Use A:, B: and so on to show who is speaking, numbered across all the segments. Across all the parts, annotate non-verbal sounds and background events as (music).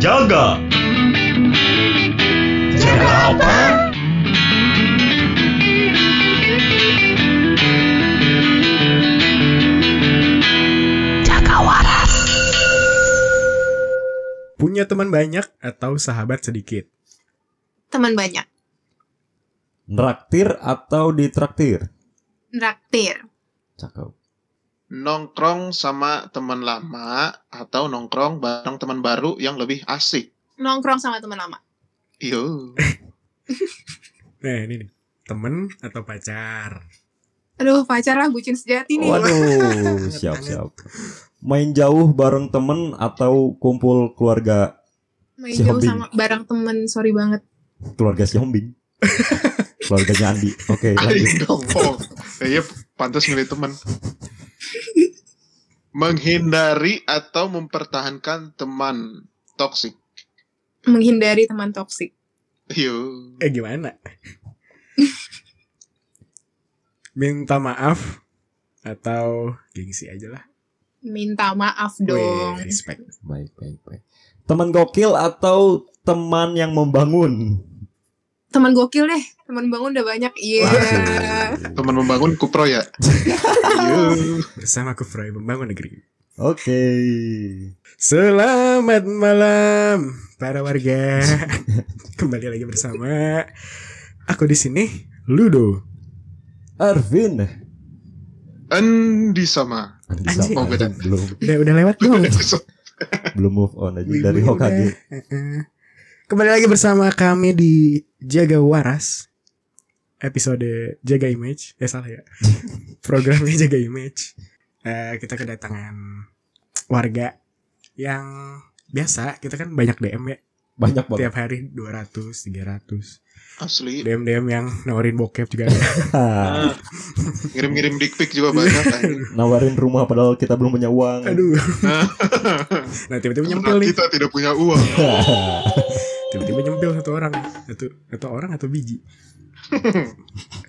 A: Jaga. Jaga apa?
B: Jaga waras.
C: Punya teman banyak atau sahabat sedikit?
D: Teman banyak.
E: Neraktir atau ditraktir?
D: Nraktir.
E: Cakep.
F: nongkrong sama teman lama atau nongkrong bareng teman baru yang lebih asik.
D: Nongkrong sama teman lama.
F: Yo.
C: Nah, ini nih. Temen atau pacar?
D: Aduh, pacar lah bucin sejati nih.
E: Waduh, (laughs) siap-siap. Main jauh bareng temen atau kumpul keluarga
D: Main
E: si
D: jauh
E: Hobbing.
D: sama barang temen, sorry banget.
E: keluarga si (laughs) Hombing? Keluarganya Andi.
C: Iya.
E: Oke, lanjut.
F: Oh, kayaknya pantas milih teman. Menghindari atau mempertahankan teman toksik.
D: Menghindari teman toksik.
F: Yo.
C: Eh, gimana? Minta maaf atau gengsi aja lah.
D: Minta maaf dong.
C: Wih, respect.
E: Baik, baik, baik. Teman gokil atau teman yang membangun?
D: Teman gokil deh. Teman bangun udah banyak. Iya.
E: Waduh. (laughs)
F: Teman membangun kupro ya. Yo.
C: Bersama aku Froy membangun negeri.
E: Oke.
C: Selamat malam para warga. Kembali lagi bersama aku di sini Ludo.
E: Arvin.
F: Endi sama.
C: (laughs)
E: Andi
C: Anjing.
E: sama
F: Oh, beda.
E: Arvin belum
C: Udah udah lewat belum?
E: belum move on aja
C: Wibu
E: dari
C: ya
E: Hokage.
C: udah. Heeh. Kembali lagi bersama kami di Jaga Waras episode Jaga Image. Ya salah
E: (laughs)
C: ya. Programnya Jaga Image. Eh, kita kedatangan warga yang biasa kita kan banyak DM ya
E: Banyak banget.
C: tiap hari 200 300
F: Asli.
C: DM DM yang nawarin bokep juga
E: (laughs)
C: ada.
E: Hah,
F: Ah, Ngirim-ngirim dick pic juga banyak. kan. anjing.
E: Nawarin rumah padahal kita belum punya uang.
C: aduh nah tiba-tiba (laughs) nyempil
F: Karena
C: nih
F: Kita tidak punya uang.
C: (laughs) tiba-tiba nyempil satu orang satu satu orang atau biji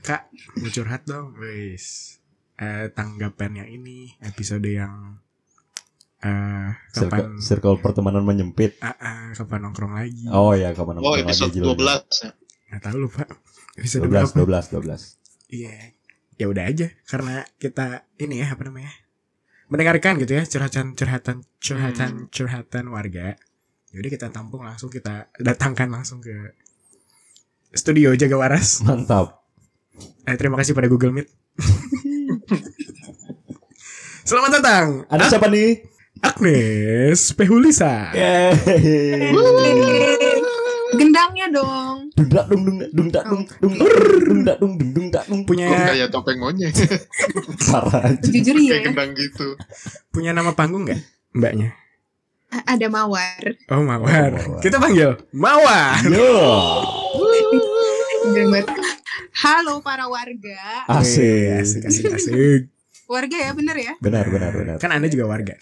C: kak mau curhat dong wes Eh, tanggapan yang ini episode yang eh
E: circle,
C: kapan
E: circle pertemanan menyempit.
C: Ah, ah, kapan nongkrong lagi
E: Oh ya, kapan
F: Oh,
E: lagi,
F: episode
E: Jil?
F: 12. ya.
C: nggak tahu lupa episode
E: 12
C: berapa
E: 12 12.
C: iya ya udah aja karena kita ini ya apa namanya mendengarkan gitu ya curhatan curhatan curhatan curhatan warga jadi kita tampung langsung kita datangkan langsung ke studio Jaga Waras
E: Mantap.
C: Eh, terima kasih pada Google Meet. Selamat datang,
E: Ada siapa nih?
C: Agnes Pehulisa.
E: Yeay.
D: Gendangnya dong.
E: Dung dak dung dung dak, dung dak dung dung dak, dung dak dung dung dung dak dung punya
C: Punya
F: Kok kayak topeng monyet.
E: parah. aja.
D: Jujur
F: kayak
D: ya.
F: gendang gitu.
C: punya nama panggung nggak, mbaknya?
D: Ada mawar.
C: Oh Mawar.
E: Oh, Mawar.
C: Kita panggil Mawar.
E: Yo.
D: Gendang banget. Halo para warga.
C: Wih,
E: Asik.
C: asik, asik, asik.
D: Warga ya bener ya.
E: Benar benar benar.
C: Kan anda juga warga.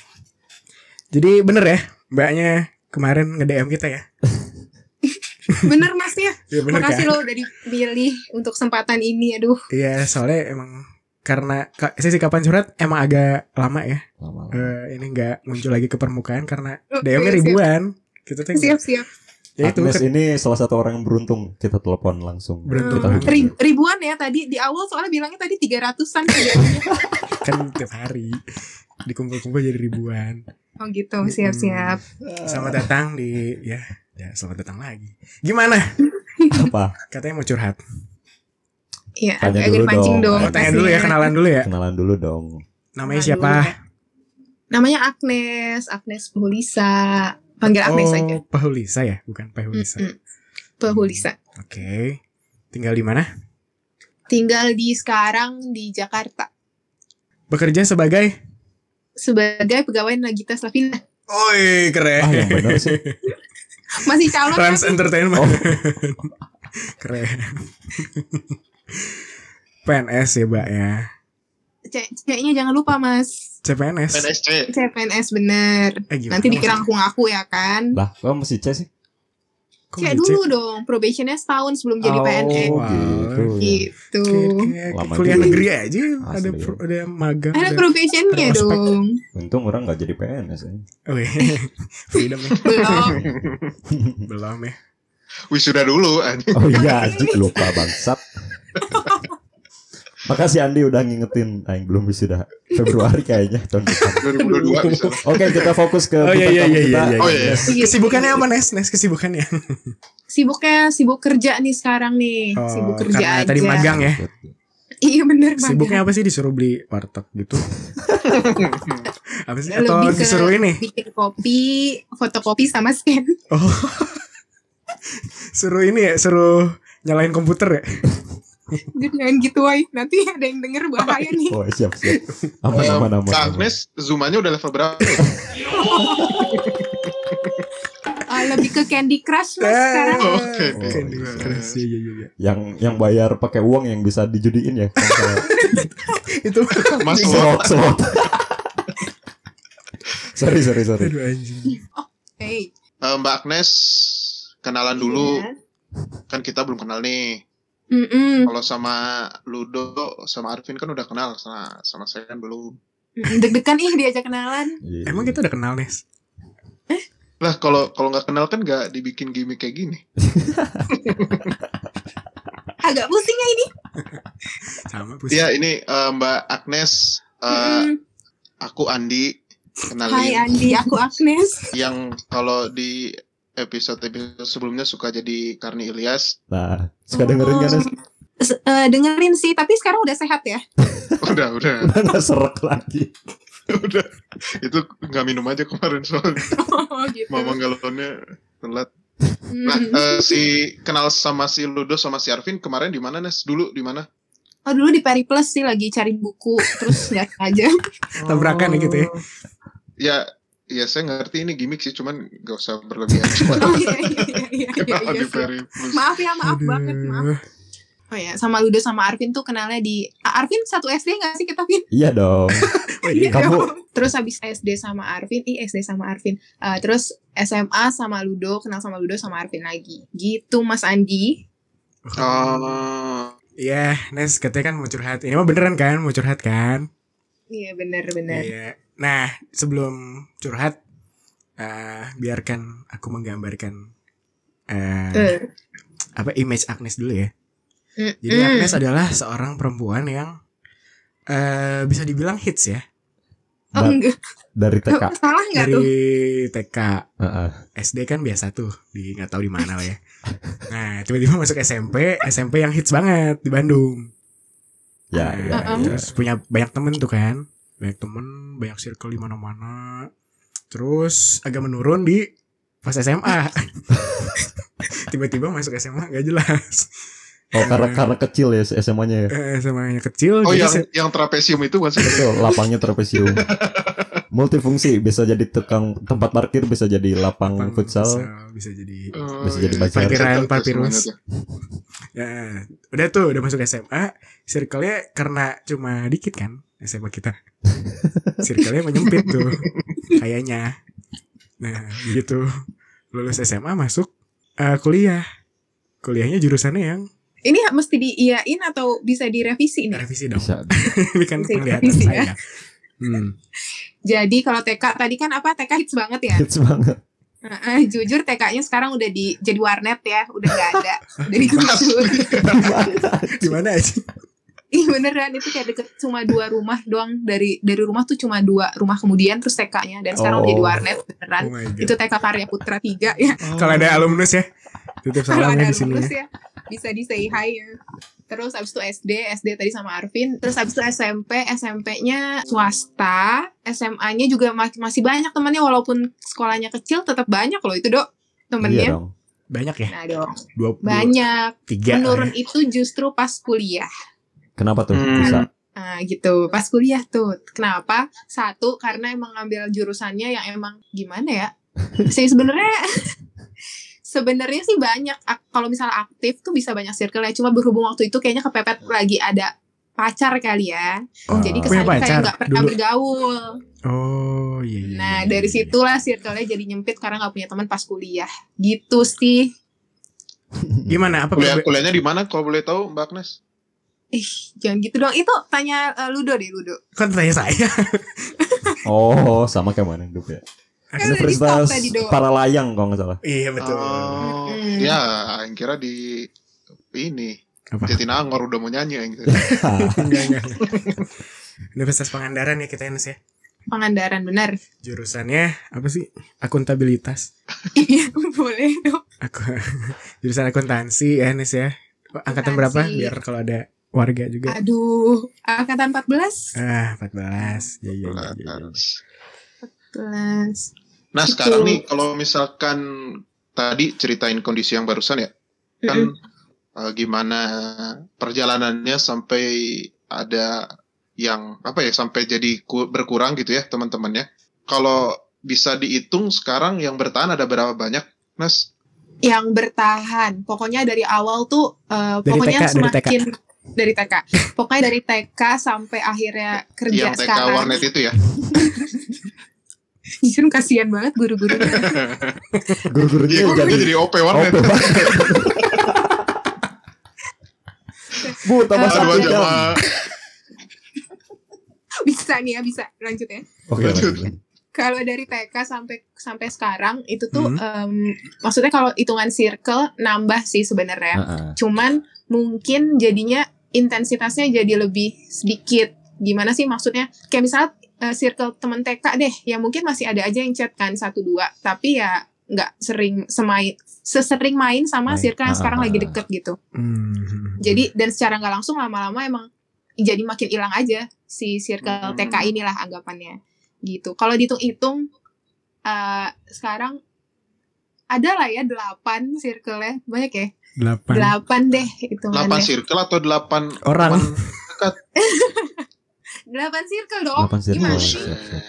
C: Jadi bener ya, mbaknya kemarin nge DM kita ya.
D: Bener mas ya.
C: Iya bener
D: Makasih
C: kan?
D: lo udah dipilih untuk kesempatan ini. Aduh.
C: Iya soalnya emang karena ka- sesi kapan surat emang agak lama ya.
E: Lama-lama.
C: Eh, ini nggak muncul lagi ke permukaan karena
D: Oh,
C: DM-nya
D: iya, siap.
C: ribuan. Kita tuh nggak-
D: Siap-siap.
C: ya itu
E: Agnes ini salah satu orang yang beruntung kita telepon langsung.
C: Beruntung
E: Kita
C: banget.
E: hubungi.
D: Ri- ribuan ya tadi di awal soalnya bilangnya tadi 300-an
C: (laughs)
D: kayaknya.
C: kan tiap hari dikumpul-kumpul jadi ribuan.
D: Oh gitu, siap-siap.
C: Selamat datang di ya, ya selamat datang lagi. Gimana?
E: Apa?
C: Katanya mau curhat.
D: Iya,
E: Tanya
D: agak
E: dulu
D: dipancing
E: dong.
D: dong.
C: Oh, tanya dulu ya,
D: pastinya.
C: kenalan dulu ya.
E: Kenalan dulu dong.
C: Namanya
D: Kenalan
C: siapa?
D: dulu ya. Namanya Agnes, Agnes Pahulisa. Panggil Ya, Agnes aja.
C: Oh, Pahulisa ya, bukan Pahulisa.
D: Mm-mm. Pahulisa.
C: Oke. Tinggal di mana?
D: Tinggal di sekarang di Jakarta
C: Bekerja sebagai
D: sebagai pegawai Nagita Slavina. (laughs)
C: Oi, keren.
D: Oh,
E: Ah, yang benar sih.
D: Masih calon
C: Trans
D: kan?
C: Entertainment.
E: Oh.
C: (laughs) keren. (laughs) PNS ya, Mbak ya.
D: C- C-nya jangan lupa, Mas.
C: CPNS.
F: NSC.
D: CPNS bener.
C: Eh, gimana
D: Nanti dikira
C: maksudnya?
D: ngaku-ngaku ya kan?
E: Lah, kok masih C sih?
C: Kok becek?
D: Kayak dulu dong, probationnya setahun sebelum jadi
E: Oh,
D: PNS.
E: gitu ya.
C: Iya.
D: Gitu.
C: Kayak- kayak
E: Lama
C: kuliah
E: juga.
C: negeri aja ya, ada
E: Asli.
C: pro- ada magang.
D: Ada
C: ada-
D: probationnya
C: ada ospek.
D: dong.
E: Untung orang nggak jadi PNS ya.
C: Weh, Oh, iya.
F: (laughs)
C: freedom ya.
D: Belum.
C: Belum ya.
F: Wisuda dulu anjing.
E: Oh iya, anjing lupa bangsat. Makasih Andi udah ngingetin Aing belum wisuda Februari kayaknya tahun depan.
F: 2022 bisa.
E: Oke, kita fokus ke
C: Oh, iya,
E: bintang
C: iya,
E: tamu
C: iya,
E: kita.
C: iya,
F: Oh iya.
D: Gitu.
C: Kesibukannya apa Nes? Nes kesibukannya?
D: Sibuknya sibuk kerja nih sekarang nih. sibuk
C: Oh,
D: kerja
C: karena
D: aja.
C: tadi magang ya.
D: (laughs) Iya bener magang.
C: Sibuknya apa sih disuruh beli warteg gitu? apa sih? Atau
D: Lebih ke-
C: disuruh ini?
D: Bikin kopi, fotokopi sama scan. (laughs)
C: Oh. suruh ini ya, suruh nyalain komputer ya.
D: Gue jangan gitu woy. Nanti ada yang denger bahaya nih.
E: Oh, siap siap.
F: Eh,
E: Aman aman aman.
F: Kak
E: aman.
F: Agnes, Zoom-nya udah level berapa? ya?
D: Eh, lebih ke Candy Crush mas Nah, sekarang.
C: Eh,
F: Oke.
C: Candy Crush, iya, iya, iya.
E: Yang yang bayar pakai uang yang bisa dijudiin ya.
C: Itu
F: Mas
E: Slot slot. sorry sorry sorry.
C: Aduh
F: Iya,
C: anjing.
D: Hey,
F: Eh, Mbak Agnes kenalan dulu
D: iya. Hmm.
F: kan kita belum kenal nih.
D: Mm-mm.
F: Kalau sama Ludo sama Arvin kan udah kenal sama sama saya kan belum.
D: Mm, Deg-degan ih diajak kenalan.
E: Iya.
C: Emang gitu? kita udah kenal Nes?
F: Lah kalau kalau nggak kenal kan nggak dibikin gimmick kayak gini.
D: Agak pusing ya ini.
C: Sama pusing.
F: Iya ini eh, Mbak Agnes,
D: Mm.
F: eh, aku Andi
D: Hai
F: kenalin
D: Andi, aku Agnes.
F: yang kalau di episode episode sebelumnya suka jadi Karni Ilyas (laughs)
E: Nah, suka dengerin kan?
C: Oh.
E: Nes?
D: S- eh, dengerin sih, tapi sekarang udah sehat ya. (laughs)
F: udah udah
E: Udah nggak serak lagi.
F: udah itu nggak minum aja kemarin
D: (laughs)
F: soalnya
D: Oh gitu.
F: mama galonnya telat
D: Mm. (laughs)
F: nah eh, si kenal sama si Ludo sama si Arvin kemarin di mana Nes dulu di mana
D: Oh dulu di Pari Plus sih lagi cari buku
C: (laughs)
D: terus nggak aja.
C: Tabrakan ya gitu ya.
D: Oh,
F: ya ya saya ngerti ini gimmick sih cuman gak usah berlebihan
D: Oh (laughs) iya iya iya iya.
F: kenal
D: iya,
F: di
D: siap.
F: Ferry Plus.
D: Maaf ya maaf
C: Aduh.
D: banget maaf. Oh ya sama Ludo sama Arvin tuh kenalnya di Ah, Arvin satu SD nggak sih kita Vin?
E: Iya dong.
C: Oh, iya.
E: Kamu-
D: (laughs) terus habis SD sama Arvin, ih SD sama Arvin. Eh, terus SMA sama Ludo, kenal sama Ludo sama Arvin lagi. Gitu Mas Andi.
F: Oh,
C: Iya, Nes katanya kan mau curhat. Ini mah beneran kan, mau curhat kan?
D: Iya bener bener.
C: Iya. Nah, sebelum curhat, eh, biarkan aku menggambarkan eh,
D: Eh,
C: apa image Agnes dulu ya.
D: mm,
C: Jadi
D: mm.
C: Agnes adalah seorang perempuan yang eh, bisa dibilang hits ya
D: Oh,
E: Ba-
D: enggak.
E: Nah, dari TK.
D: (laughs)
C: Oh.
D: Salah nggak tuh?
C: dari TK,
E: Heeh.
C: SD kan biasa tuh di nggak tahu di mana lah ya. Nah, tiba-tiba masuk SMP, SMP yang hits banget di Bandung.
E: Ya,
F: Iya,
E: ya,
C: Nah,
D: Heeh.
E: ya.
C: Terus punya banyak temen tuh kan, banyak temen, banyak circle di mana-mana. Terus agak menurun di pas
E: (laughs)
C: SMA. Tiba-tiba masuk SMA gak
E: (laughs)
C: jelas.
E: Oh, karena
F: Iya.
E: karena kecil ya SMA-nya ya.
C: Eh, SMA nya kecil.
F: oh
C: jadi
F: yang
C: se-
F: yang trapesium itu
D: (laughs)
F: bukan sih? Eh,
E: Betul, lapangnya
F: (laughs)
E: trapesium. Multifungsi bisa jadi tukang tempat parkir, bisa jadi lapang
C: Lapang
E: futsal.
C: futsal bisa jadi
F: Oh,
E: Bisa jadi
F: iya.
E: pacar.
C: Parkiran,
F: Terus
C: papirus.
F: semuanya tuh.
C: ya udah tuh udah masuk SMA circle-nya karena cuma dikit kan SMA kita circle-nya menyempit tuh kayaknya nah gitu lulus SMA masuk eh, kuliah kuliahnya jurusannya yang
D: Ini mesti diiyain atau bisa direvisi nih?
C: revisi (laughs) dong
E: Bisa.
C: ini kan
D: Bisa
C: penglihatan
D: revisi ya.
C: saya hmm.
D: Jadi kalau TK tadi kan apa TK hits banget ya?
E: Hits banget.
D: Heeh, jujur TK-nya sekarang udah di jadi warnet ya, udah nggak ada, udah digusur.
C: gimana
D: (laughs)
C: aja
D: Ih Iya, beneran itu kayak deket cuma dua rumah doang dari dari rumah tuh cuma dua rumah kemudian terus TK-nya dan sekarang udah jadi
E: Oh.
D: warnet beneran.
C: oh my god
D: Itu TK Karya Putra 3 ya.
C: kalau ada alumnus ya tutup
D: Kalau
C: salam
D: ada
C: ya di sini
D: alumnus ya bisa di say hi ya. Terus abis itu SD, SD tadi sama Arvin. Terus abis itu SMP, SMP-nya swasta, SMA-nya juga ma- masih banyak temannya walaupun sekolahnya kecil tetap banyak loh itu dok
E: Iya
D: temennya.
E: dong.
C: banyak ya
D: Nah dong,
C: dua puluh
D: banyak.
C: tiga
D: Menurun itu justru pas kuliah.
E: Kenapa tuh
F: Hmm.
E: bisa?
D: Nah, gitu. Pas kuliah tuh. Kenapa? Satu, karena emang ngambil jurusannya yang emang gimana
C: (laughs)
D: ya? Sih sebenarnya sebenarnya sih banyak Ak- kalau misalnya aktif tuh bisa banyak circle ya. Cuma berhubung waktu itu kayaknya kepepet lagi ada pacar kali ya.
E: Oh,
C: punya
D: Jadi kesannya kayak
C: pacar
D: nggak pernah
C: dulu.
D: bergaul.
C: oh iya, iya
D: Nah,
C: iya,
D: dari
C: iya.
D: situlah circle-nya jadi nyempit karena nggak punya teman pas kuliah. Gitu sih.
C: Gimana? Apa
F: Kuliah kuliahnya di mana kalau boleh tahu Mbak Agnes?
D: Ih, jangan gitu dong. Itu tanya eh, Ludo deh, Ludo.
C: Kan tanya saya.
E: Oh, sama kayak mana hidup ya.
D: udah di-stop
E: Universitas
D: Kan tadi, Dok.
E: para layang kalau nggak salah.
C: Kan iya betul.
F: Oh,
D: Mm-mm.
F: ya, yang kira di ini
C: Apa?
F: Jatinangor udah mau nyanyi yang gitu.
E: Iya,
C: Enggak, (laughs) enggak, enggak. Universitas Pangandaran ya kita Enes ya.
D: Pangandaran benar.
C: Jurusannya apa sih? Akuntabilitas.
D: Iya, (laughs) boleh dong.
C: Aku (laughs) jurusan akuntansi ya Enes ya. Oh, Angkatan
D: Akuntansi.
C: berapa? Biar kalau ada warga juga.
D: Aduh, angkatan 14.
C: Ah, 14. Ya, ya,
E: iya,
C: ya, ya, ya.
F: Terus.
D: 14.
F: Nah sekarang
D: Betul.
F: nih kalau misalkan tadi ceritain kondisi yang barusan ya kan eh, gimana perjalanannya sampai ada yang apa ya sampai jadi ku- berkurang gitu ya teman-temannya. Kalau bisa dihitung sekarang yang bertahan ada berapa banyak, Nas?
D: Yang bertahan. Pokoknya dari awal tuh eh,
C: Dari TK,
D: pokoknya
C: dari
D: semakin dari TK. Pokoknya dari TK sampai akhirnya kerja
F: yang TK
D: sekarang. (laughs)
F: warnet itu ya?
D: Jujur kasihan banget guru-guru. (laughs)
E: Guru-gurunya
F: Iya,
E: jadi
F: jadi, jadi OP
E: Oh,
F: warnet.
E: Bapak. Bu, tambah
D: Eh,
E: satu
F: Aduh,
D: Warnet.
E: jam.
F: sama
D: bisa nih ya, bisa. Lanjut ya.
E: Oke, lanjut.
D: Kalau dari TK sampai sampai sekarang itu tuh
C: Hmm.
D: em, maksudnya kalau hitungan circle nambah sih sebenarnya.
E: Heeh.
D: cuman mungkin jadinya intensitasnya jadi lebih sedikit gimana sih maksudnya kayak misalnya eh, circle temen TK deh ya mungkin masih ada aja yang chat kan satu dua tapi ya nggak sering semain sesering main sama
E: Main.
D: circle yang sekarang
E: Ah.
D: lagi deket gitu
C: Hmm.
D: jadi dan secara nggak langsung lama-lama emang jadi makin hilang aja si circle
F: Hmm.
D: TK inilah anggapannya gitu. Kalau dihitung-hitung eh, sekarang ada lah ya delapan circle-nya banyak ya
C: 8
D: delapan deh hitungannya.
F: 8 circle atau 8
C: orang.
D: Delapan circle dong.
E: Delapan circle.
D: Gimana
E: Siap,
D: sih?
E: siap.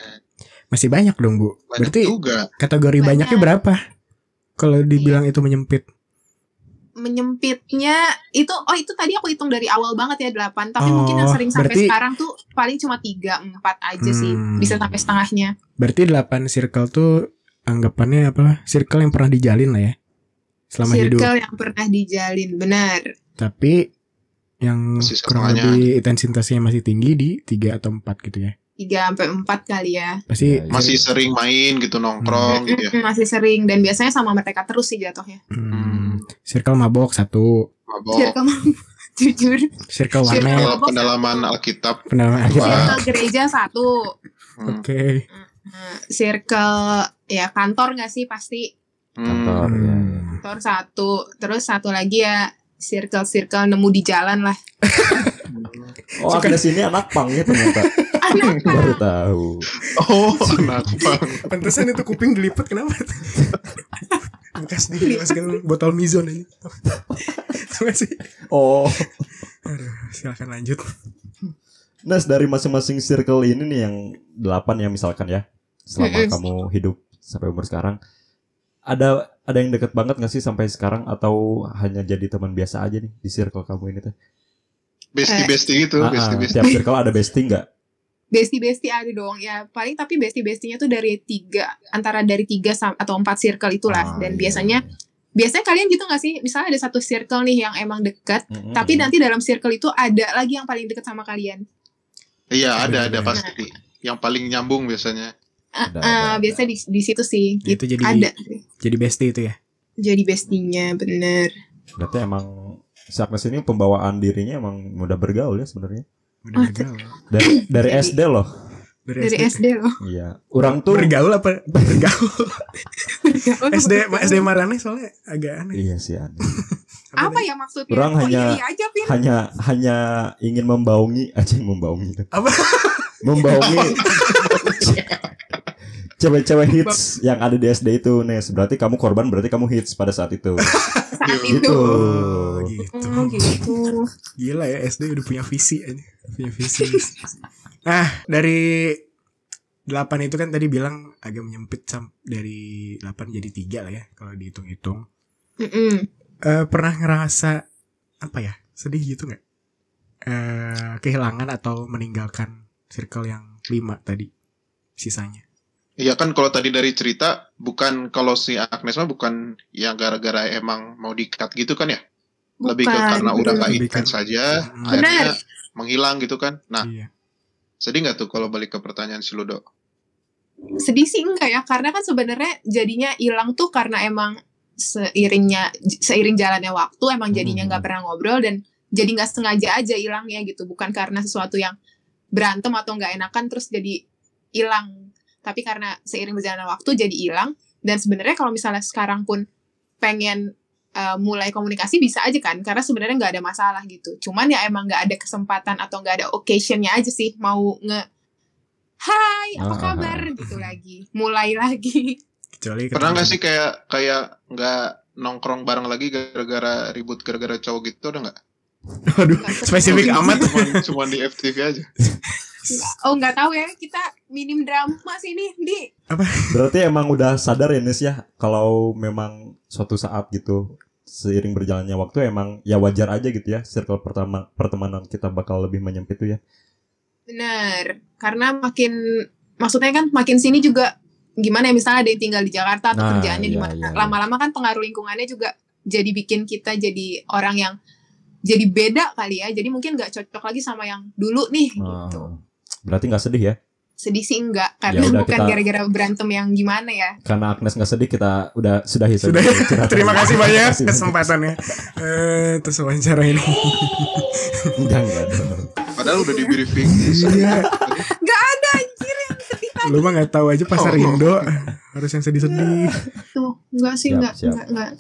C: Masih banyak dong, Bu.
F: Banyak
C: Berarti
F: juga.
C: kategori
D: Banyak. Iya.
C: banyaknya berapa? Kalau dibilang itu menyempit.
D: Menyempitnya itu oh itu tadi aku hitung dari awal banget ya delapan. Tapi mungkin yang
C: Oh,
D: sering sampai
C: berarti-
D: sekarang tuh paling cuma tiga empat aja sih.
C: Hmm.
D: Bisa sampai setengahnya.
C: Berarti 8 circle tuh anggapannya apa? lah? Circle yang pernah dijalin lah ya. Selama hidup.
D: circle yang pernah dijalin benar.
C: Tapi yang
F: Masih
C: kurang
F: setengahnya.
C: lebih intensitasnya masih tinggi di 3 atau 4 gitu ya.
D: Tiga sampai empat kali ya.
C: Pasti
E: Ya, ya.
F: Masih sering main gitu nongkrong gitu ya.
D: Mm, masih sering dan biasanya sama mereka terus sih jatuhnya.
C: hmm, circle mabok satu,
F: Mabok.
D: Circle (laughs) jujur.
C: circle warnet,
F: Circle Iya, pendalaman Alkitab.
C: pendalaman Alkitab.
D: Circle gereja satu.
F: Hmm.
C: Oke.
D: Nah, Circle ya kantor nggak sih pasti
E: Kantor.
F: Hmm.
E: ya, ya.
C: Hmm.
D: kantor satu. Terus satu lagi ya circle-circle nemu di jalan
C: (laughs)
D: lah.
E: Oh,
C: Suka-
E: Agnes ini anak pang ya
F: (laughs)
E: ternyata.
D: Anak
E: Baru tahu.
F: Oh, anak bang.
C: Pantesan itu kuping dilipet kenapa? (laughs) Bekas diri masukin botol mizon ini. Terima kasih.
E: Oh,
C: Silakan lanjut.
E: Nas dari masing-masing circle ini nih yang delapan ya misalkan ya. Selama
D: Mm-mm.
E: kamu hidup sampai umur sekarang ada ada yang deket banget gak sih sampai sekarang atau hanya jadi teman biasa aja nih di circle kamu ini teh?
F: Besti-besti gitu,
C: Eh.
E: Ah, ah,
F: besti-besti.
E: tiap circle ada bestie nggak?
D: Besti-besti ada dong ya paling tapi besti-bestinya tuh dari tiga antara dari tiga sam- atau empat circle itulah
E: Ah,
D: dan
E: iya.
D: biasanya biasanya kalian gitu nggak sih misalnya ada satu circle nih yang emang deket
E: Mm-mm.
D: tapi nanti dalam circle itu ada lagi yang paling deket sama kalian
F: Iya, ada
C: Nah.
F: ada pasti. Yang paling nyambung biasanya.
D: Eh,
E: Ada, ada, ada.
D: biasanya di, di situ sih gitu
C: Itu jadi
D: ada
C: jadi bestie itu ya.
D: jadi bestinya bener
E: Berarti emang si Agnes ini pembawaan dirinya emang mudah bergaul ya sebenarnya.
C: Udah bergaul.
E: Dari, dari
D: Jadi-
E: SD loh.
D: dari SD
E: (laughs)
D: loh
E: Iya. Orang
C: Tuh
E: tuh
C: bergaul apa? Bergaul. SD SD marane soalnya agak aneh.
E: Iya sih aneh.
D: apa ya maksudnya
E: Orang
D: Oh, iya,
E: hanya-
D: iya aja Vin
E: hanya hanya ingin membaungi (laughs) aja membaungi
C: Apa? (laughs)
E: membaungi cewek-cewek hits yang ada di SD itu Nes berarti kamu korban berarti kamu hits pada saat
C: (laughs)
E: itu
D: saat
F: Gitu.
D: itu
C: Oh, gitu.
D: Oh, gitu
C: Gila ya SD udah punya visi aja. Punya visi. nah, dari 8 itu kan tadi bilang agak menyempit sam- dari 8 jadi 3 lah ya kalau dihitung-hitung.
D: Mm-mm.
C: Eh, pernah ngerasa apa ya? Sedih gitu nggak? Eh kehilangan atau meninggalkan circle yang 5 tadi sisanya.
F: Iya kan kalau tadi dari cerita bukan kalau si Agnes mah bukan yang gara-gara emang mau dikat gitu kan ya? Lebih ke
D: Bukan.
F: karena udah nggak
C: Lebih ke-
F: intens saja,
C: Hmm.
F: akhirnya menghilang gitu kan? Nah,
C: Iya.
F: sedih nggak tuh kalau balik ke pertanyaan si Ludo?
D: sedih sih enggak ya karena kan sebenarnya jadinya hilang tuh karena emang seiringnya seiring jalannya waktu emang jadinya
E: Hmm.
D: nggak pernah ngobrol dan jadi nggak sengaja aja hilangnya gitu bukan karena sesuatu yang berantem atau nggak enakan terus jadi hilang tapi karena seiring berjalannya waktu jadi hilang dan sebenarnya kalau misalnya sekarang pun pengen eh, mulai komunikasi bisa aja kan karena sebenarnya nggak ada masalah gitu cuman ya emang nggak ada kesempatan atau nggak ada occasionnya aja sih mau nge Hai apa
E: Ah, ah,
D: kabar
E: ah.
D: gitu lagi mulai lagi (laughs)
C: Kecuali ketemu-
F: Pernah nggak sih kayak kayak nggak nongkrong bareng lagi gara-gara ribut gara-gara cowok gitu ada nggak?
C: (laughs) Waduh,
F: (laughs)
C: spesifik
D: Nggak
C: amat.
F: Cuman, cuman di FTV aja.
D: oh nggak tahu ya kita minim drama sih ini di
E: Berarti emang udah sadar ya Nis ya kalau memang suatu saat gitu seiring berjalannya waktu emang ya wajar aja gitu ya circle pertama pertemanan kita bakal lebih menyempit tuh ya.
D: bener karena makin maksudnya kan makin sini juga gimana ya misalnya ada yang tinggal di Jakarta atau
E: Nah,
D: kerjaannya di
E: iya,
D: mana
E: iya, iya.
D: lama-lama kan pengaruh lingkungannya juga jadi bikin kita jadi orang yang jadi beda kali ya jadi mungkin nggak cocok lagi sama yang dulu nih gitu
E: Ah, Berarti nggak sedih ya?
D: sedih sih enggak karena
E: udah,
D: bukan
E: kita-
D: gara-gara berantem yang gimana ya
E: Karena Agnes nggak sedih kita udah sudahi saja.
C: Sudah.
E: Curhatan.
C: (laughs)
E: ya.
C: Terima kasih banyak
E: Terima kasih
C: (laughs) kesempatannya. Eh, terus wawancara ini.
E: banyak. Jangan.
F: Padahal udah di briefing.
C: (laughs) Iya,
D: nggak ada anjir yang sedih
C: lu mah nggak tahu aja pasar
F: Oh.
C: Indo harus yang sedih-sedih.
D: tuh enggak sih
E: Siap,
D: enggak
E: siap.
D: enggak enggak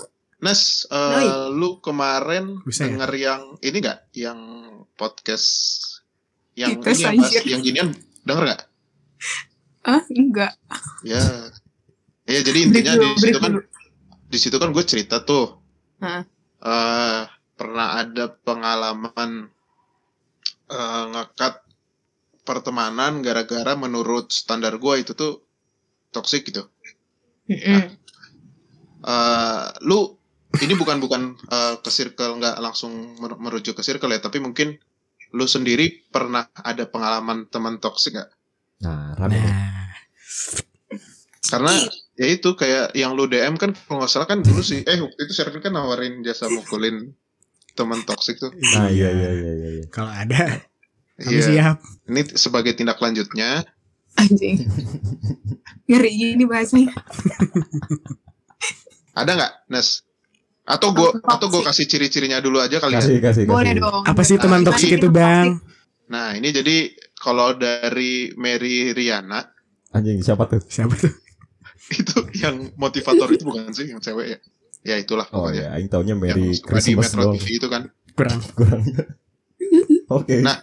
F: Nes, eh,
D: Noi.
F: lu kemarin
C: Bisa ya?
F: denger yang ini nggak? Yang podcast yang
D: Kita ya.
F: ini yang, bahas-
D: anjir.
F: yang ginian denger nggak?
D: ah enggak
F: Ya. Ya jadi intinya di
D: Brief dulu,
F: situ
D: brief
F: kan (laughs)
D: dulu.
F: di situ kan gue cerita tuh.
D: Heeh.
F: Eh, pernah ada pengalaman eh, ngekat pertemanan gara-gara menurut standar gue itu tuh toksik gitu.
D: Mm-mm.
F: Eh, lu ini bukan bukan eh, ke circle nggak langsung mer- merujuk ke circle ya, tapi mungkin lu sendiri pernah ada pengalaman teman toksik nggak?
E: Nah, rame. nih.
C: Nah,
F: Karena ya itu kayak yang lu DM kan kalau nggak salah kan dulu sih, eh waktu itu Shervin kan nawarin jasa mukulin teman toksik tuh.
E: Nah, iya iya iya iya. iya.
C: Kalau ada, kami
F: Iya.
C: siap.
F: Ini t- sebagai tindak lanjutnya,
D: anjing ngeri ini bahasanya
F: ada nggak, Nes? Atau gue
D: Teman
F: atau gue
D: toksik.
F: kasih ciri-cirinya dulu aja kali ya.
E: Kasih kasih kasih.
D: boleh dong
C: Apa sih teman
D: Gimana
C: toksik
D: ini
C: itu, Bang?
F: Nah ini jadi kalau dari Mary Riana
E: Anjing siapa tuh?
C: Siapa tuh?
F: itu yang motivator itu bukan sih yang cewek ya ya itulah
E: Oh ya,
F: pokoknya
E: aing taunya
F: yang
E: Mary
F: suka di
E: Christmas
F: Metro
E: doang.
F: TV itu kan
C: Kurang.
E: Kurangnya. (laughs) Oke.
F: Nah.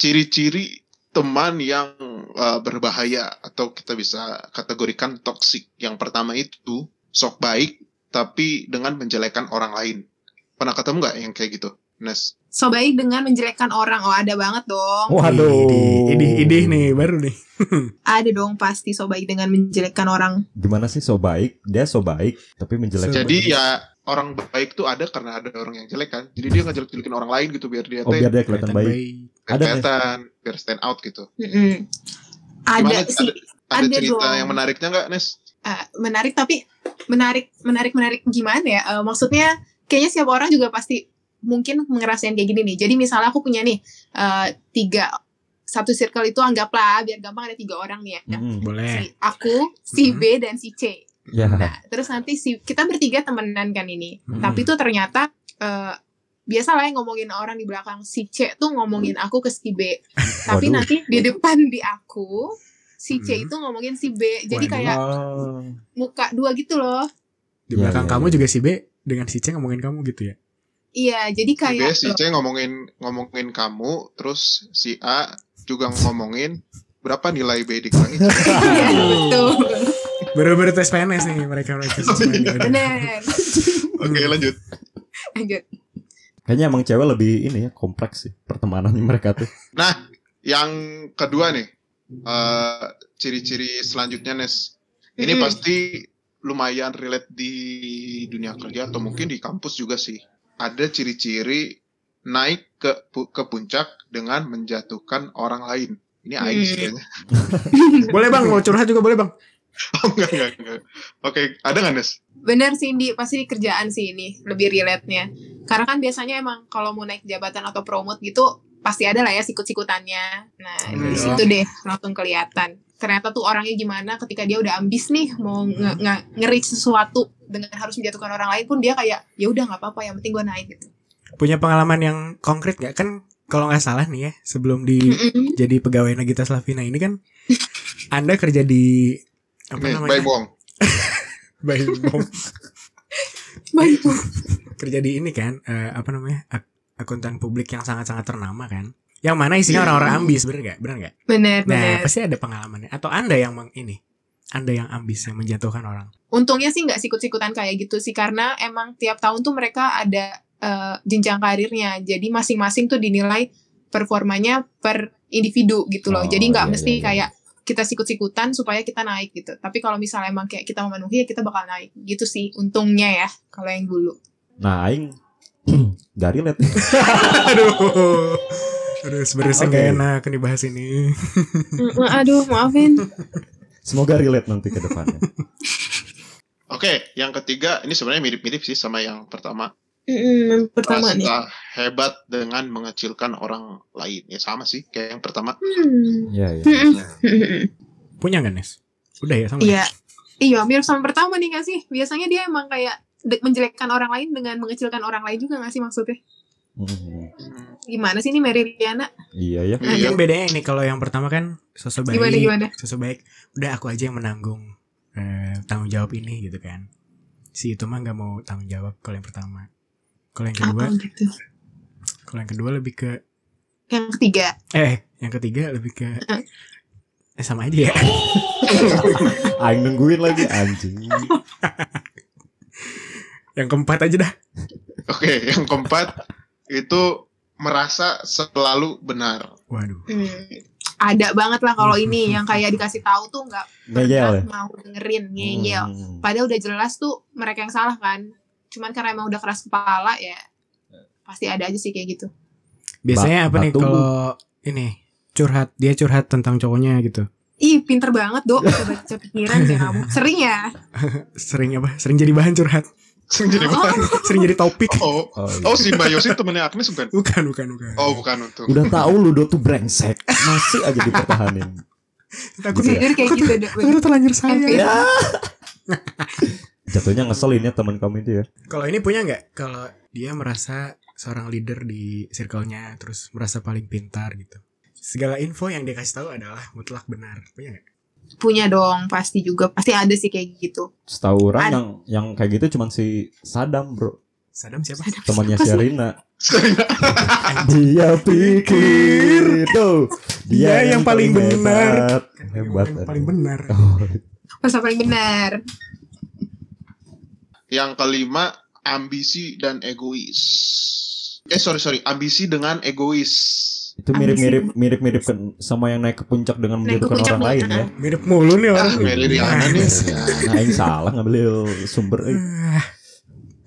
F: ciri-ciri teman yang uh, berbahaya atau kita bisa kategorikan toksik yang pertama itu sok baik tapi dengan menjelekan orang lain pernah ketemu nggak yang kayak gitu Nes
D: so baik dengan menjelekkan orang oh ada banget dong
E: Waduh.
C: Idih, idih nih baru nih.
D: ada dong pasti so baik dengan menjelekkan orang
E: Gimana sih so baik? Dia so baik tapi menjelekkan.
F: jadi ya orang baik tuh ada karena ada orang yang jelek kan jadi dia ngejelek-jelekin orang lain gitu biar dia
E: Oh biar
F: teh
E: dia kelihatan baik. ada, Nes.
F: kelihatan biar stand out gitu
D: Mm-mm. ada
F: Gimana?
D: sih
F: ada,
D: Ada
F: cerita
D: dong.
F: yang menariknya nggak Nes
D: eh, menarik tapi menarik menarik menarik gimana ya Eh, maksudnya kayaknya setiap orang juga pasti mungkin ngerasain kayak gini nih jadi misalnya aku punya nih eh, tiga satu circle itu anggaplah biar gampang ada tiga orang nih ya
C: Hmm.
E: Mm-mm.
C: Boleh.
D: si aku si
C: Mhm.
D: B dan si C
E: Ya.
D: Nah, terus nanti si kita bertiga temenan kan ini.
E: Mm-mm.
D: Tapi tuh ternyata eh biasa lah yang ngomongin orang di belakang si C tuh ngomongin aku ke si B. Tapi
E: Waduh.
D: nanti di depan di aku si
C: Mm.
D: C itu ngomongin si B.
C: Waduh.
D: Jadi kayak
E: Ah.
D: muka dua gitu loh.
C: Di
E: Iya,
C: belakang
E: iya,
C: kamu
E: iya.
C: juga si B dengan si C ngomongin kamu gitu ya.
D: Iya, jadi kayak
F: Biasanya si C ngomongin ngomongin kamu, terus si A juga ngomongin berapa nilai B
D: (laughs)
F: dikurangi. C?
D: (laughs) Iya, betul.
C: Baru-baru tes PNS nih mereka mereka.
E: (laughs)
D: Benar.
F: Oke lanjut.
D: Lanjut.
E: (laughs) Kayaknya emang cewek lebih ini ya kompleks sih pertemanannya mereka tuh.
F: Nah, yang kedua nih, eh, ciri-ciri selanjutnya Nes. Ini
D: Mm-mm.
F: pasti lumayan relate di dunia kerja atau mungkin di kampus juga sih. Ada ciri-ciri naik ke pu- ke puncak dengan menjatuhkan orang lain. Ini aing sih
D: Hmm.
F: kayaknya.
C: boleh bang, mau curhat juga boleh bang.
F: (laughs) Oh, enggak, enggak, enggak. Oke, ada nggak Nes?
D: Bener sih Indi, pasti di kerjaan sih ini lebih relate-nya. Karena kan biasanya emang kalau mau naik jabatan atau promote gitu pasti ada lah ya sikut-sikutannya. Nah,
C: Hmm.
D: di
E: Iya.
D: situ deh langsung kelihatan. Ternyata tuh orangnya gimana ketika dia udah ambis nih
E: Hmm.
D: mau nge- nge- nge-reach sesuatu dengan harus menjatuhkan orang lain pun dia kayak ya udah nggak apa-apa yang penting gue naik gitu.
C: Punya pengalaman yang konkret nggak kan? Kalau nggak salah nih ya, sebelum
E: Hmm.
C: di
D: Mm-mm.
C: jadi pegawai Nagita Slavina ini kan, Anda kerja di apa
F: Nih,
C: namanya?
F: Bay Wong.
C: Baik, Bom.
D: Baik.
C: (laughs) kerja di ini kan, eh, apa namanya? Ak- akuntan publik yang sangat-sangat ternama kan. Yang mana isinya
F: Iya.
C: orang-orang ambis, bener nggak? Bener nggak?
D: Bener,
C: Nah,
D: bener.
C: pasti ada pengalamannya. Atau Anda yang meng ini, Anda yang ambis yang menjatuhkan orang.
D: Untungnya sih nggak sikut-sikutan kayak gitu sih karena emang tiap tahun tuh mereka ada eh, jenjang karirnya. Jadi masing-masing tuh dinilai performanya per individu gitu loh.
E: Oh,
D: Jadi nggak
E: iya,
D: mesti
E: iya, iya.
D: kayak kita sikut-sikutan supaya kita naik gitu. Tapi kalau misalnya emang kayak kita memenuhi ya kita bakal naik gitu sih. Untungnya ya kalau yang dulu.
E: Nah, aing (clears throat) gak relate.
C: Aduh. Terus berusaha
E: Oke.
C: gak enak nih bahas ini.
D: Aduh, maafin.
E: Semoga relate nanti ke depannya.
F: Oke, yang ketiga ini sebenarnya mirip-mirip sih sama yang pertama.
D: pertama nih.
F: Merasa hebat dengan mengecilkan orang lain. Ya sama sih kayak yang pertama.
D: Hmm.
E: Iya, iya.
C: Punya gak, Nes? Udah ya sama. ya?
D: (laughs) Iya. Iya, mirip sama pertama nih gak sih? Biasanya dia emang kayak de- menjelekkan orang lain dengan mengecilkan orang lain juga gak sih maksudnya?
E: Mhm.
F: Hmm,
D: Gimana sih ini Mary Riana?
E: Iya ya.
F: Iya.
C: Mungkin Kan bedanya ini kalau yang pertama kan sosok baik,
D: Gimana, gimana?
C: sosok baik. Udah aku aja yang menanggung eh, tanggung jawab ini gitu kan. Si itu mah nggak mau tanggung jawab kalau yang pertama. Kalau yang kedua,
D: Apa gitu?
C: kalau yang kedua lebih ke
D: Yang ketiga.
C: eh yang ketiga lebih ke
D: Eh.
C: eh, sama aja ya. (laughs)
E: Aing nungguin lagi anjing.
C: yang keempat aja dah.
F: Oke, yang keempat itu merasa selalu benar. (laughs)
C: Waduh.
D: Hmm. Ada banget lah kalau
E: (laughs)
D: ini yang kayak dikasih tahu tuh nggak
E: Ngeyel ya.
D: pernah mau dengerin ngeyel.
E: Hmm.
D: Padahal udah jelas tuh mereka yang salah kan. Cuman karena emang udah keras kepala ya pasti ada aja sih kayak gitu.
C: Biasanya apa nih
E: batu.
C: kalau ini curhat dia curhat tentang cowoknya gitu.
D: Ih pinter banget dok
E: (laughs)
D: Bisa baca pikiran sih kamu. Sering ya.
C: Sering apa? Sering jadi bahan curhat.
F: Jadi
D: Oh.
F: bukan.
C: Sering jadi topik.
F: Oh,
E: Oh, iya.
F: oh si Mbak Yosi temennya Agnes bukan?
C: Bukan, bukan, bukan.
F: Oh, bukan untuk. (laughs)
E: Udah tahu lu do tuh brengsek, masih aja
D: (laughs)
E: dipertahanin.
C: Aku
E: Gitu ya?
D: Jujur kayak gitu dok.
C: Aku tuh terlanjur sayang.
D: Happy.
E: ya. Jatuhnya ngeselin ya teman kamu itu ya.
C: Kalau ini punya nggak? Kalau dia merasa seorang leader di circle-nya, terus merasa paling pintar gitu. Segala info yang dia kasih tahu adalah mutlak benar. Punya nggak?
D: Punya dong pasti juga pasti ada sih kayak gitu.
E: Setahu orang
D: Ad-
E: yang yang kayak gitu cuman si Sadam, Bro.
C: Sadam siapa?
E: Temannya
D: Siapa sih?
E: Sherina.
F: Sering.
E: Dia pikir tuh
C: Dia yang paling benar.
E: hebat.
C: Kan
E: Hebat.
C: yang paling benar.
E: Oh,
D: Masa paling benar.
F: Yang kelima, ambisi dan egois. Eh, sorry, sorry. Ambisi dengan egois.
E: itu mirip-mirip mirip-mirip kan sama yang naik ke puncak dengan
D: Naik ke
E: menjatuhkan
D: puncak
E: orang lain
D: beneran.
E: ya.
C: Mirip mulu nih orang.
F: Ah, Meli Riana nih.
E: Nah, aing salah ngambil sumber eh.
C: Ah.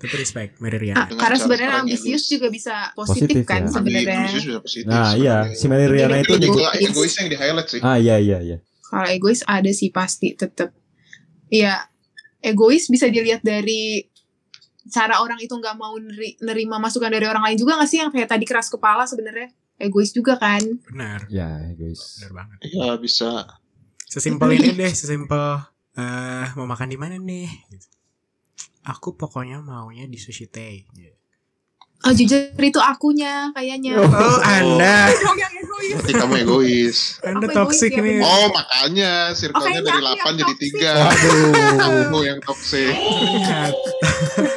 C: Tapi respect, Mary Riana.
D: Ah,
F: Dengan
D: karena
F: cara
D: sebenarnya
F: sekarang
D: ambisius
F: egois.
D: juga bisa positif,
E: Positif,
D: kan
E: ya.
F: Ambi-
D: sebenarnya.
F: ambisius juga positif.
E: Nah, iya, si Mary Riana
F: Itu
E: itu
D: Ini
E: juga
F: juga egois yang di highlight sih.
E: Ah, iya iya iya.
D: Kalau egois ada sih pasti tetap. Iya, egois bisa dilihat dari cara orang itu nggak mau neri- nerima masukan dari orang lain juga nggak sih yang kayak tadi keras kepala sebenarnya egois juga kan.
C: Benar.
E: Ya, guys.
C: Benar banget.
F: Iya, bisa.
C: Sesimpel ini deh, sesimpel eh mau makan di mana nih? Gitu. Aku pokoknya maunya di sushi tei.
D: Oh jujur itu akunya kayaknya.
E: Oh.
C: Oh, Anda,
D: Dong yang egois.
F: Berarti kamu egois.
C: Anda
D: Aku
C: toksik
D: egois ya,
C: nih.
D: benar.
F: Oh, makanya circle-nya
D: Makanya
F: dari
D: aku
F: 8
D: yang
F: jadi
D: toxic.
F: 3.
E: Aduh.
F: Kamu yang toxic.
C: Ternyata.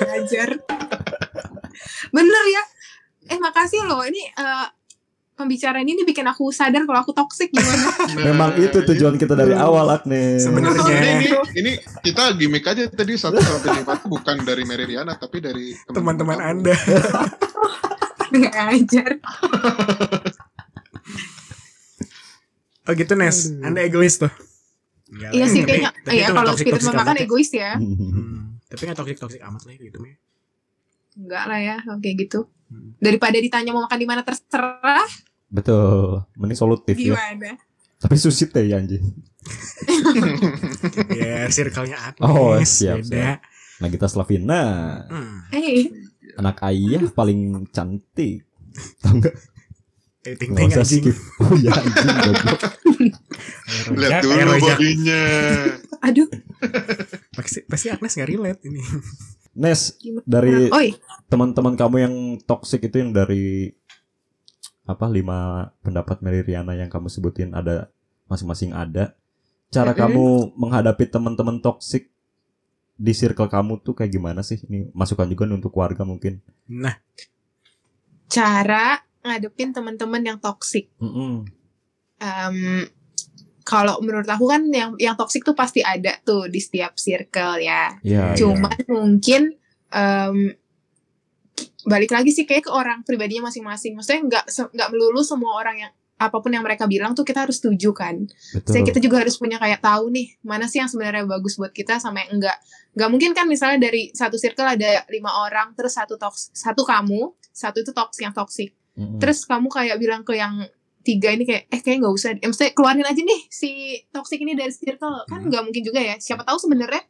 D: Ngajar. Bener ya. Eh makasih loh ini eh, pembicaraan ini bikin aku sadar kalau aku toksik gimana.
C: (laughs)
F: Nah,
E: Memang itu tujuan kita dari awal, Agnes.
C: Sebenarnya.
F: Ini, ini, ini kita gimmick aja tadi satu sampai lima tuh bukan dari Mary Riana tapi dari
C: Teman-teman
F: kamu.
C: Anda.
D: Ngajar.
C: Nah, Oh gitu Nes,
E: Aduh.
C: Anda egois tuh. Enggak
D: Iya
C: lah,
D: sih
C: tapi-
D: kayaknya
C: tapi
D: ya
C: itu nggak
D: kalau
C: toxic-
D: spirit
C: toxic
D: memakan
C: amat ya.
D: egois ya.
C: Hmm, tapi nggak toksik toksik amat lah gitu ya.
D: Enggak lah ya kalau kayak gitu.
C: Hmm.
D: Daripada ditanya mau makan di mana terserah
E: (laughs)
C: Gitu
E: Betul. Mending solutif ya.
D: gimana.
E: Tapi sushi teh ya, anjing.
D: (laughs)
C: ya circle-nya Agnes
E: Oh, siap,
C: beda.
E: Nagita Nah, Slavina,
C: Hmm.
D: Eh,
E: anak ayah paling cantik. Tahu enggak?
C: Eh, ting ting
E: Enggak usah
C: anjing.
E: skip. Oh ya anjing goblok.
C: Air
F: Lihat
C: rojak, air
F: dulu
C: rojak.
F: bodinya.
D: aduh.
C: Pasti, pasti Agnes gak relate
D: (laughs)
C: ini.
E: Nes
D: Gimana?
E: dari
D: Oi,
E: teman-teman kamu yang toksik itu yang dari apa lima pendapat Mary Riana yang kamu sebutin ada masing-masing ada cara
D: Mm-mm.
E: kamu menghadapi teman-teman toksik di circle kamu tuh kayak gimana sih ini masukan juga nih untuk keluarga mungkin
C: Nah,
D: cara ngadepin teman-teman yang toksik.
E: Mm-mm.
D: Em, kalau menurut aku kan yang yang toksik tuh pasti ada tuh di setiap circle ya.
E: ya
D: Cuman
E: ya.
D: mungkin em, balik lagi sih kayak ke orang pribadinya masing-masing. Maksudnya nggak se- nggak melulu semua orang yang apapun yang mereka bilang tuh kita harus setuju kan.
E: betul
D: Saya kita juga harus punya kayak tahu nih mana sih yang sebenarnya bagus buat kita sama yang enggak. Nggak mungkin kan misalnya dari satu circle ada lima orang terus satu toks satu kamu satu itu toks yang toksik
E: Mm-mm.
D: terus kamu kayak bilang ke yang tiga ini kayak eh kayak nggak usah eh, maksudnya keluarin aja nih si toxic ini dari circle kan
C: Hmm.
D: nggak mungkin juga ya siapa tahu sebenarnya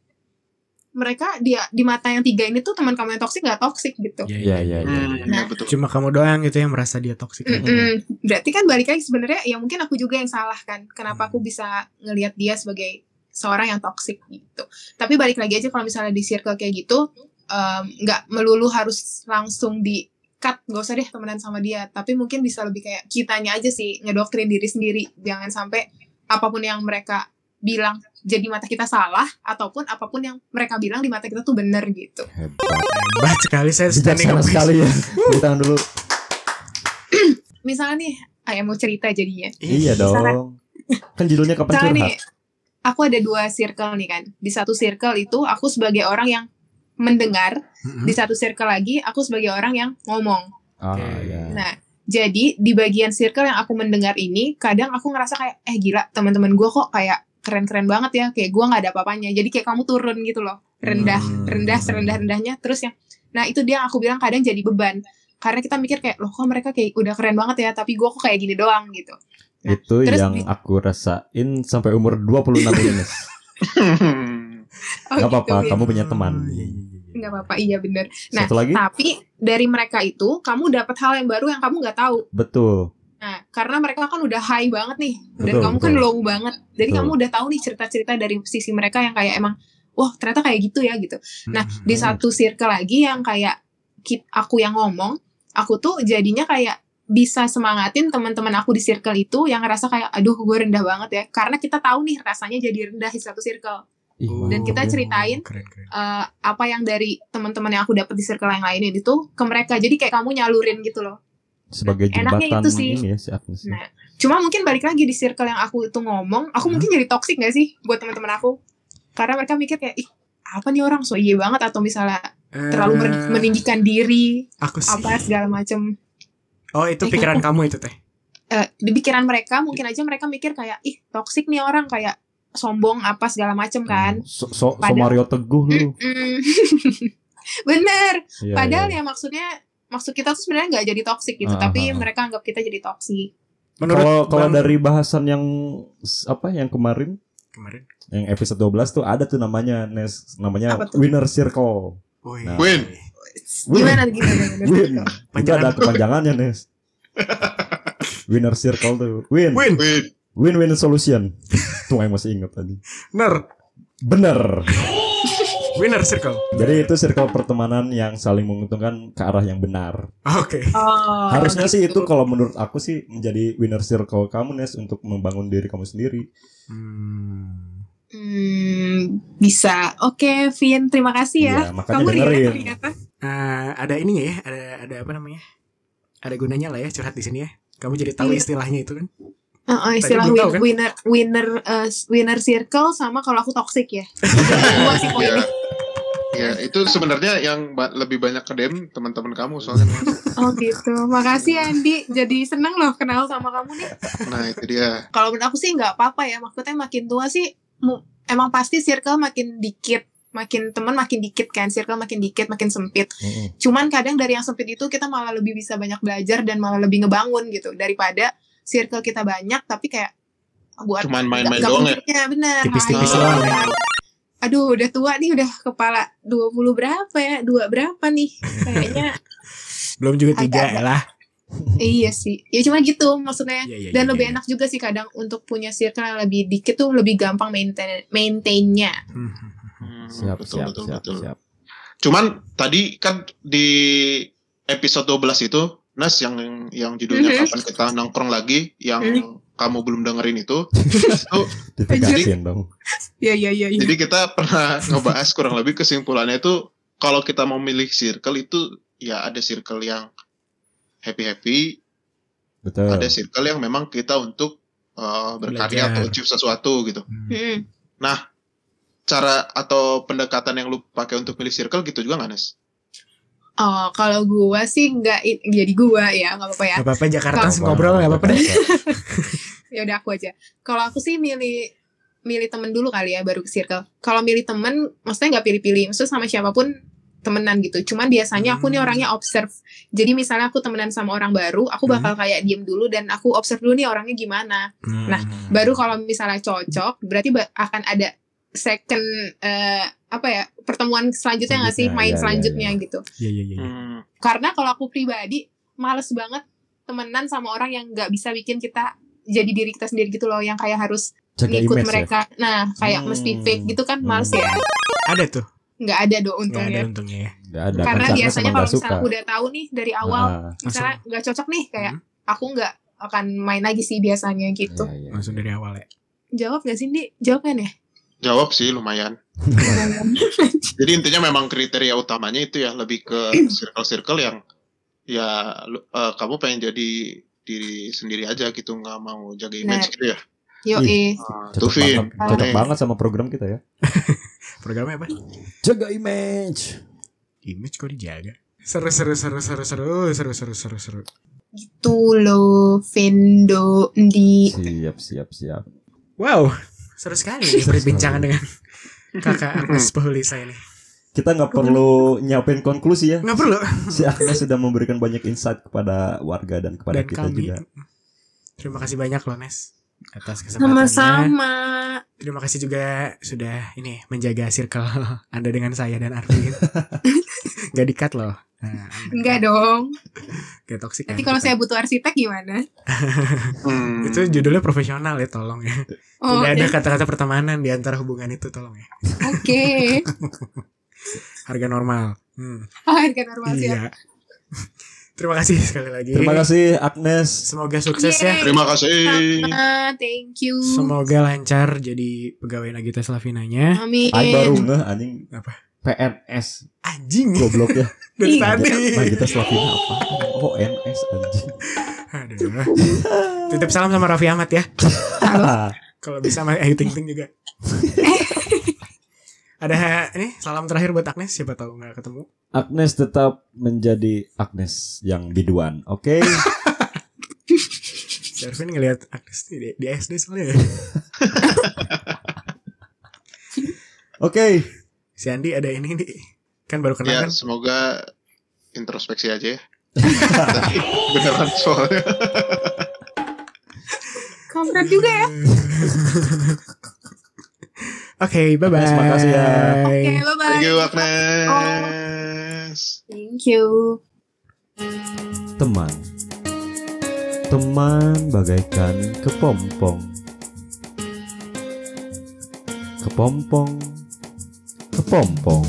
D: mereka dia di mata yang tiga ini tuh teman kamu yang toxic nggak toxic gitu
C: ya,
E: ya ya ya,
F: Hmm,
E: ya.
F: ya
D: (laughs) iya.
F: betul.
C: Cuma kamu doang gitu yang merasa dia toksik.
E: Mm.
D: Mm-mm. berarti kan balik lagi sebenarnya ya mungkin aku juga yang salah kan kenapa aku bisa ngelihat dia sebagai seorang yang toxic gitu tapi balik lagi aja kalau misalnya di circle kayak gitu em, nggak melulu harus langsung di cut gak usah deh temenan sama dia tapi mungkin bisa lebih kayak kitanya aja sih ngedoktrin diri sendiri jangan sampai apapun yang mereka bilang jadi mata kita salah ataupun apapun yang mereka bilang di mata kita tuh bener gitu
E: hebat
C: Hebat sekali saya standing
E: bijaksana
C: ovation. (laughs)
E: sekali ya (laughs) Tepuk tangan dulu
D: misalnya nih ayah mau cerita jadinya
E: iya dong kan judulnya kapan
D: Misalnya
E: curhat
D: nih, aku ada dua circle nih kan. Di satu circle itu aku sebagai orang yang mendengar,
E: Hmm?
C: Mm-mm.
D: di satu circle lagi aku sebagai orang yang ngomong.
E: ah
C: Oke.
E: ya
D: Nah, jadi di bagian circle yang aku mendengar ini, kadang aku ngerasa kayak eh gila teman-teman gue kok kayak keren-keren banget ya, kayak gue nggak ada apa-apanya. Jadi kayak kamu turun gitu loh, rendah,
E: Hmm.
D: rendah, serendah rendahnya. Terus yang, nah itu dia yang aku bilang kadang jadi beban. Karena kita mikir kayak loh kok mereka kayak udah keren banget ya, tapi gue kok kayak gini doang gitu. Nah,
E: itu
D: terus
E: yang
D: di-
E: aku rasain sampai umur 26 ini Nes.
D: Oh,
E: Gak apa-apa,
D: gitu, ya.
E: kamu punya teman.
C: Iya, iya, iya, iya.
D: nggak apa-apa, iya bener. Nah,
E: Satu lagi,
D: Tapi dari mereka itu kamu dapat hal yang baru yang kamu nggak tahu.
E: betul.
D: Nah, karena mereka kan udah high banget nih dan
E: Betul,
D: kamu
E: betul.
D: kan low banget. Jadi
E: Betul.
D: kamu udah tahu nih cerita-cerita dari sisi mereka yang kayak emang wah ternyata kayak gitu ya
E: Hmm,
D: gitu. Nah,
C: Mm-mm.
D: di satu circle lagi yang kayak ki- aku yang ngomong, aku tuh jadinya kayak bisa semangatin teman-teman aku di circle itu yang ngerasa kayak aduh gue rendah banget ya karena kita tahu nih rasanya jadi rendah di satu circle
E: Ih,
D: Dan
E: mantap
D: kita
E: ya.
D: ceritain.
C: Hmm. Oh, Keren, keren.
D: eh, apa yang dari teman-teman yang aku dapat di circle yang lain itu ke mereka jadi kayak kamu nyalurin gitu loh
E: sebagai
D: enaknya
E: jembatan
D: itu sih.
E: ini ya si Agnes.
D: Nah, Cuma mungkin balik lagi di circle yang aku itu ngomong,
E: Hmm.
D: aku mungkin jadi toxic gak sih buat teman-teman aku? Karena mereka mikir kayak, ih apa nih orang so iye banget atau misalnya terlalu men-
E: Hmm.
C: Eh,
D: meninggikan diri,
C: Aku sih.
D: apa segala macem.
C: Oh itu pikiran kamu itu teh.
D: Eh, di pikiran mereka mungkin aja mereka mikir kayak, ih toxic nih orang kayak sombong apa segala
E: Hmm.
D: macem kan.
E: So, so, so
D: Padahal-
E: Mario Teguh lu.
D: Mm. (laughs) Bener,
E: Iya,
D: padahal ya
E: iya.
D: maksudnya maksud kita tuh sebenarnya nggak jadi toxic gitu,
E: Ah,
D: tapi
E: ah, ah.
D: mereka anggap kita jadi toxic.
E: Kalau kalau
C: Bang-
E: dari bahasan yang s- apa yang kemarin
C: kemarin.
E: yang episode 12 tuh ada tuh namanya Nes namanya
D: Apa tuh?
E: Winner Circle.
C: Woi.
E: Nah.
F: Win.
E: Win.
D: Gimana gimana? gimana?
E: Win. Itu
C: Panjangan.
E: ada kepanjangannya
D: (laughs)
E: Nes. Winner Circle tuh. Win.
C: Win.
F: Win.
E: Win win solution. (laughs) Tuh yang masih ingat tadi.
C: Bener.
E: Bener.
C: Winner circle.
E: Jadi itu circle pertemanan yang saling menguntungkan ke arah yang benar.
C: Oke.
D: Oh,
E: Harusnya sih itu
D: gitu.
E: kalau menurut aku sih menjadi winner circle kamu Nes untuk membangun diri kamu sendiri.
C: Hmm.
D: Hmm, bisa. Oke, Vin, terima kasih ya.
E: Iya, makanya
D: Kamu
E: dengerin.
D: Riana ternyata.
C: Eh, ada ininya ya, ada ada apa namanya? Ada gunanya lah ya curhat di sini ya. Kamu jadi tahu
D: Iya.
C: istilahnya itu kan?
D: Uh, uh, istilah
C: belum tahu,
D: win-
C: kan?
D: winner winner uh, winner circle sama kalau aku toxic ya. Dua sih
F: Ya.
D: poinnya.
F: Ya, itu sebenarnya yang ba- lebih banyak ke DM teman-teman kamu soalnya.
D: Oh gitu. Makasih Andi. Jadi seneng loh kenal sama kamu nih.
F: Nah, itu dia.
D: Kalau menurut aku sih nggak apa-apa ya. Maksudnya makin tua sih mu- emang pasti circle makin dikit, makin teman makin dikit kan. Circle makin dikit, makin sempit.
E: Mm-mm.
D: Cuman kadang dari yang sempit itu kita malah lebih bisa banyak belajar dan malah lebih ngebangun gitu daripada circle kita banyak tapi kayak buat
F: Cuman
D: nggak-
F: main-main
D: nggak
F: doang ya?
D: pentingnya, bener.
C: Tipis-tipis
D: Hal-hal
C: doang
D: yang-
C: ya.
D: Aduh, udah tua nih, udah kepala 20 berapa ya? Dua berapa nih?
C: (laughs)
D: Kayaknya
C: Belum juga tiga
D: Agak-agak.
C: ya lah.
D: iya sih. Ya cuma gitu
C: Iya,
D: maksudnya.
C: iya,
D: Dan
C: iya,
D: lebih
C: iya.
D: enak juga sih kadang untuk punya circle yang lebih dikit tuh lebih gampang maintain maintainnya.
C: Hmm.
F: Hmm,
E: siap, siap, siap, siap.
F: Cuman tadi kan di episode 12 itu Nas yang yang judulnya
D: Mhm.
F: kapan kita nongkrong lagi yang
D: Mhm.
F: kamu belum dengerin
D: (laughs)
F: itu. itu
E: Ditegasin dong.
D: Iya iya iya.
F: jadi kita pernah ngebahas kurang lebih kesimpulannya itu kalau kita mau milih circle itu ya ada circle yang happy-happy,
C: Iya.
E: Betul.
F: ada circle yang memang kita untuk uh, berkarya
C: Belajar.
F: atau achieve sesuatu gitu.
C: Hmm.
D: Mm-mm.
F: Cara atau pendekatan yang lu pakai untuk milih circle gitu juga nggak Nas?
D: Oh, kalau gua sih nggak i- jadi gua ya, nggak apa-apa ya.
C: Gak apa-apa Jakarta
E: Nggak
C: sih ngobrol gak apa-apa deh. (laughs)
D: Ya udah aku aja. Kalau aku sih milih milih temen dulu kali ya baru ke circle. Kalau milih temen, maksudnya nggak pilih-pilih, maksudnya sama siapapun temenan gitu. Cuman biasanya aku nih
C: Hmm.
D: orangnya observe. Jadi misalnya aku temenan sama orang baru, aku
E: Hmm.
D: bakal kayak diem dulu dan aku observe dulu nih orangnya gimana. Nah, baru kalau misalnya cocok berarti ba- akan ada second eh, apa ya pertemuan selanjutnya nggak sih
E: Selanjutnya,
D: main
E: iya,
D: selanjutnya
E: iya,
D: gitu
C: Iya iya iya.
F: Hmm.
D: karena kalau aku pribadi males banget temenan sama orang yang nggak bisa bikin kita jadi diri kita sendiri gitu loh yang kayak harus
E: Jaga
D: ngikut
E: image ya.
D: mereka nah kayak
F: Hmm.
D: mesti fake gitu kan males
E: Hmm.
D: ya
C: Ada tuh.
D: nggak ada do
C: Gak
D: untungnya
C: ada untungnya ya.
E: Nggak ada
D: karena
E: kan,
D: biasanya
E: emang
D: kalau
E: nggak
D: misalnya udah tahu nih dari awal
E: Ah,
D: misalnya nggak cocok nih kayak
C: Hmm.
D: aku nggak akan main lagi sih biasanya gitu
E: iya, iya.
C: Langsung dari awal ya.
D: jawab nggak sih Ndi? jawab
E: (laughs)
D: kan ya
F: Jawab sih lumayan. Jadi intinya memang kriteria utamanya itu ya lebih ke circle-circle yang ya lu- eh, kamu pengen jadi diri sendiri aja gitu nggak mau jaga
D: Nah.
F: image gitu ya.
D: yo eh,
F: Ah,
E: Cocok
F: Tuh Vin,
E: banget, cocok
F: Nih.
E: banget sama program kita ya.
C: Programnya apa?
E: Jaga image.
C: Image kok dijaga. Seru seru seru seru seru seru seru seru seru.
D: Gitu loh, Vendo, di
E: Siap, siap, siap.
C: Wow, seru sekali nih
E: (laughs) Seru
C: perbincangan
E: sekali.
C: dengan
E: (laughs)
C: kakak Agnes Paulisa ini.
E: Kita nggak perlu nyiapin konklusi ya.
D: Nah.
C: Nggak perlu.
E: Si Agnes sudah memberikan banyak insight kepada warga dan kepada
C: Dan
E: kita
C: kami.
E: juga.
C: Terima kasih banyak loh Nes atas kesempatannya.
D: sama-sama.
C: Terima kasih juga sudah ini menjaga circle Anda dengan saya dan
D: (laughs)
C: Arvin. Gak dikat loh. Nah,
D: Enggak dong.
C: Gak toksik
D: Nanti
C: kan
D: kalau
C: kita.
D: saya butuh arsitek gimana?
F: Hmm.
C: itu judulnya profesional ya tolong ya.
D: Oh,
C: Tidak ada
D: dan-
C: kata-kata pertemanan di antara hubungan itu tolong ya.
D: (laughs) oke. (laughs)
C: Harga normal. Hmm,
D: Ah, Harga normal siap.
C: iya. (laughs) Terima kasih sekali lagi.
D: Iya.
E: Terima kasih Agnes.
C: Semoga sukses ya.
D: Yeay.
F: Terima kasih.
D: Sama, Ah, thank you.
C: Semoga lancar jadi pegawai Nagita Slavinanya.
D: Amin.
E: Aing baru ngeh anjing
C: Apa?
E: PNS
C: Anjing
E: goblok ya.
C: dari
D: Ih.
C: tadi.
E: Nah, kita Slovenia apa? Oh, NS anjing.
C: Aduh. Titip salam sama Raffi Ahmad ya. Kalau bisa sama Ayu Ting Ting juga. Ada ini salam terakhir buat Agnes siapa tahu nggak ketemu.
E: (laughs) Agnes tetap menjadi Agnes yang biduan. Oke.
C: Si Arvin ngelihat Agnes di, di SD soalnya. ya.
E: (laughs) Oke.
C: Si Andi ada ini nih. Kan baru kenal
F: Ya
C: kan.
F: semoga introspeksi aja ya. (laughs) Tapi Beneran soalnya.
D: Kampret juga
E: (laughs)
D: ya.
C: Oke, bye bye.
E: Agnes, makasih ya.
D: Oke, bye-bye.
F: Thank you Agnes.
D: Thank you.
E: Teman. Teman bagaikan kepompong. Kepompong. Kepompong.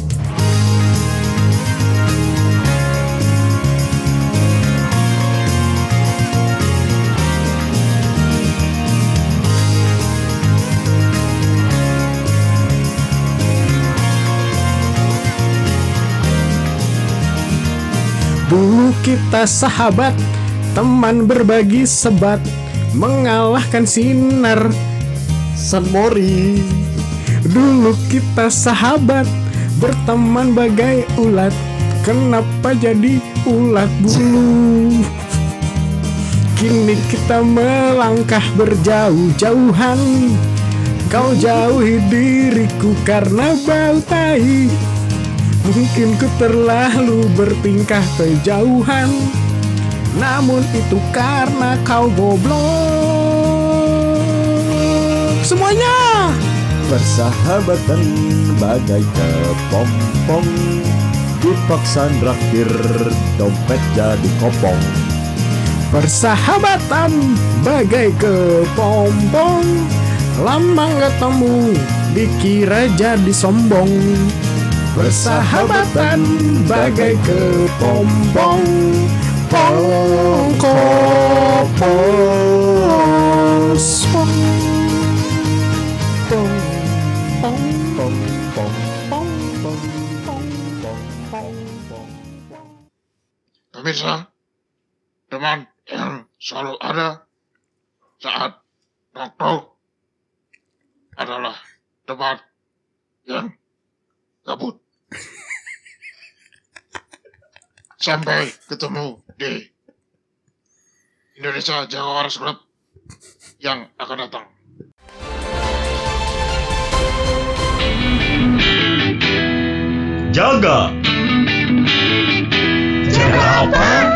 C: Dulu kita sahabat, teman berbagi sebat, mengalahkan sinar.
E: San Mori.
C: Dulu kita sahabat, berteman bagai ulat. Kenapa jadi ulat bulu? Kini kita melangkah berjauh-jauhan. Kau jauhi diriku karena bau tai. Mungkin ku terlalu bertingkah kejauhan Namun itu karena kau goblok Semuanya
E: Persahabatan bagai kepompong Dipaksa terakhir dompet jadi kopong
C: Persahabatan bagai kepompong Lama nggak temu dikira jadi sombong Persahabatan bagai kepompong Pong kopos Pong Pong Pong
E: Pong pong
D: Pong,
E: pong
D: pong,
E: pong
D: pong.
E: pong
F: Pemirsa, teman yang selalu ada saat waktu adalah teman yang gabut. Sampai ketemu di Indonesia Jawa Waras Club yang akan datang.
E: Jaga Jaga apa?